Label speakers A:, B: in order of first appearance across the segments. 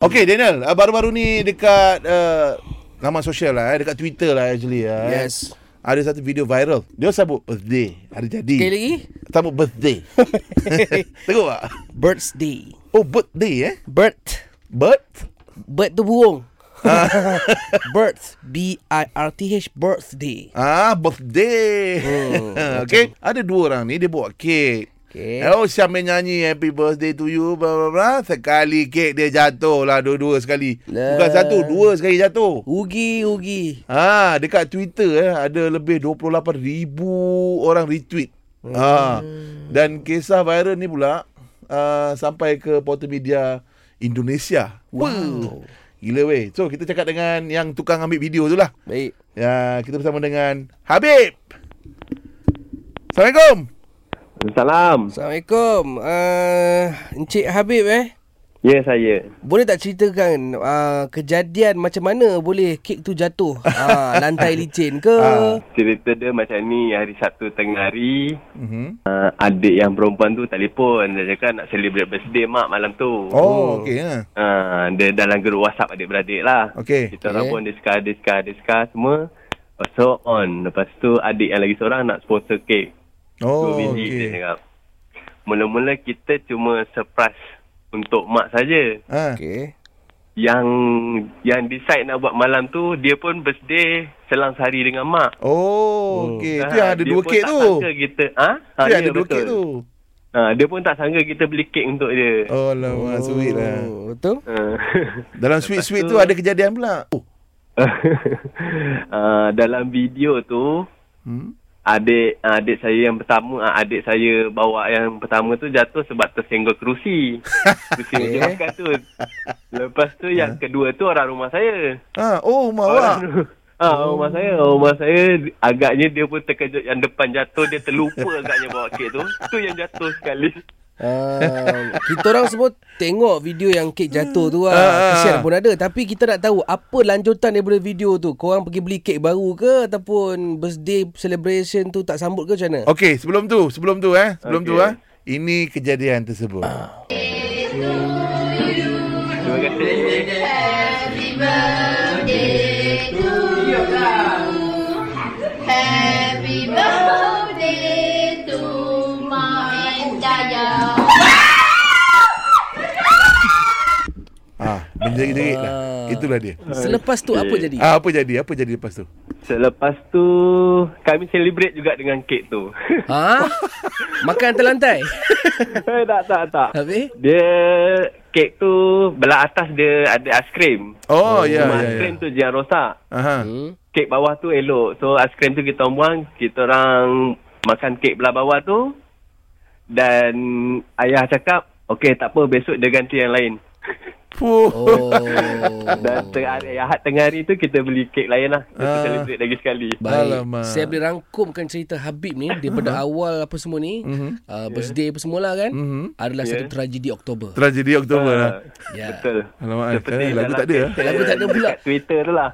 A: Okey Daniel, uh, baru-baru ni dekat uh, laman sosial lah, eh, dekat Twitter lah actually. eh.
B: Yes.
A: Ada satu video viral. Dia sambut birthday hari jadi.
B: Sekali lagi
A: Sambut birthday. Tengok tak?
B: Birthday
A: Oh, birthday eh.
B: Birth
A: Bird?
B: Birth tu burung Ah.
A: Ah,
B: Birth B-I-R-T-H Birthday
A: Ah, birthday.
B: Oh,
A: okay. Ada dua orang ni dia buat kek.
B: Okey.
A: Oh, Syam main nyanyi happy birthday to you bla bla bla. Sekali kek dia jatuh lah dua-dua sekali. Bukan
B: Lah.
A: satu, dua sekali jatuh.
B: Ugi Ugi
A: Ha, dekat Twitter eh, ada lebih 28,000 orang retweet. Ha. Dan kisah viral ni pula uh, sampai ke portal media Indonesia. Wow. Gila weh. So kita cakap dengan yang tukang ambil video tu lah.
B: Baik
A: Ya, kita bersama dengan Habib. Assalamualaikum.
C: Salam.
B: Assalamualaikum uh, Encik Habib eh
C: Ya saya.
B: boleh tak ceritakan uh, kejadian macam mana boleh kek tu jatuh? Uh, lantai licin ke?
A: Ah.
C: Cerita dia macam ni hari Sabtu tengah hari
A: Mhm.
C: uh, adik yang perempuan tu telefon dia cakap nak celebrate birthday mak malam tu.
A: Oh, okey ha.
C: Uh, dia dalam grup WhatsApp adik-beradik lah.
A: Okey.
C: Kita orang
B: Okey.
C: pun diskar diskar diskar semua. Lepas tu on. Lepas tu adik yang lagi seorang nak sponsor cake.
A: Oh,
C: Dua biji dia
A: okey.
C: cakap. Mula-mula kita cuma surprise untuk mak saja.
A: Ha.
B: Okey.
C: Yang yang decide nak buat malam tu dia pun birthday selang sehari dengan mak.
A: Oh, okey. Tu
C: Ah,
A: yang ada
C: dia
A: dua
C: pun
A: kek
C: tak
A: tu.
C: sangka kita. Ha?
A: Tu
C: Ha,
A: yang
C: ya,
A: ada dua
C: betul.
A: kek tu.
C: Ha, dia pun tak sangka kita beli kek untuk dia. Oh.
A: Oh, lama oh. sweet lah.
B: Betul?
A: Dalam sweet-sweet tu ada kejadian pula. Oh.
C: uh, Ha. dalam video tu
A: Hmm.
C: adik ha, adik saya yang pertama ah, adik saya bawa yang pertama tu jatuh sebab tersenggol kerusi. Kerusi meja
A: Eh?
B: Okay.
C: makan tu. Lepas tu yang kedua tu orang rumah saya.
A: Ha, oh mak awak.
C: Orang tu- Ah, ha, rumah saya, rumah saya agaknya dia pun terkejut yang depan jatuh dia terlupa agaknya bawa kek tu. Tu yang jatuh sekali.
B: Uh, kita orang semua tengok video yang kek jatuh tu lah.
A: Ah, ah.
B: Kesian pun ada. Tapi kita nak tahu apa lanjutan daripada video tu. Korang pergi beli kek baru ke ataupun birthday celebration tu tak sambut ke macam mana?
A: Okey, sebelum tu, sebelum tu eh, sebelum tu
C: Okey.
A: eh. Ini kejadian tersebut.
C: Terima kasih.
D: Happy birthday to my Jaya.
A: Ha, menjerit-jerit lah.
B: Ah.
A: Itulah dia.
B: Selepas tu apa jadi?
A: Ha, apa jadi? Apa jadi lepas tu?
C: Selepas tu kami celebrate juga dengan kek tu.
B: Ha? Makan atas lantai?
C: Eh, tak tak tak.
B: Habis?
C: Dia kek tu belah atas dia ada aiskrim.
A: Oh, ya
C: Cuma
A: ya.
C: aiskrim
A: ya.
C: tu je yang rosak.
A: Aha.
B: Hmm.
C: Kek bawah tu elok. So aiskrim tu kita orang buang, kita orang makan kek belah bawah tu dan ayah cakap, "Okey, tak apa, besok dia ganti yang lain."
A: Fuh.
B: Oh.
C: Dan tengah hari Ahad tengah hari tu kita beli kek lain lah. Kita
A: Ah.
C: celebrate lagi sekali.
B: Baik.
A: Alamak. Uh-huh.
B: Saya boleh rangkumkan cerita Habib ni daripada awal apa semua ni,
A: Mhm.
B: uh, birthday apa semua lah kan.
A: Mhm.
B: Adalah satu
C: Yeah.
B: tragedi Oktober.
A: Tragedi Oktober lah.
B: Ya.
C: Betul.
A: Alamak,
C: Seperti
A: eh, lagu
C: dalam
A: tak ada,
C: cerita
B: Lagu tak ada pula.
C: dekat Twitter tu lah.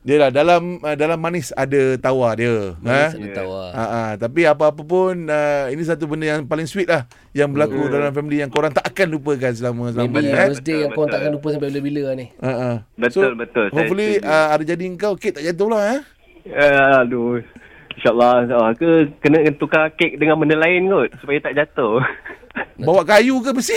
A: Dia lah dalam uh, dalam manis ada tawa dia.
B: Manis
A: ha?
B: ada tawa.
A: Ha, ha. Tapi apa-apa pun uh, ini satu benda yang paling sweet lah yang berlaku dalam family yang korang tak akan lupakan selama selama
B: Maybe
A: ni. eh.
B: birthday yang kau
C: Betul,
B: takkan lupa sampai bila-bila lah ni.
A: Ha, ha.
C: Betul, betul. Saya
A: Hopefully
C: setuju.
A: uh, ada jadi engkau kek tak jatuh lah eh.
C: Eh, aduh. InsyaAllah. insyaAllah. Ke, kena tukar kek dengan benda lain kot. Supaya tak jatuh.
A: Bawa kayu ke besi?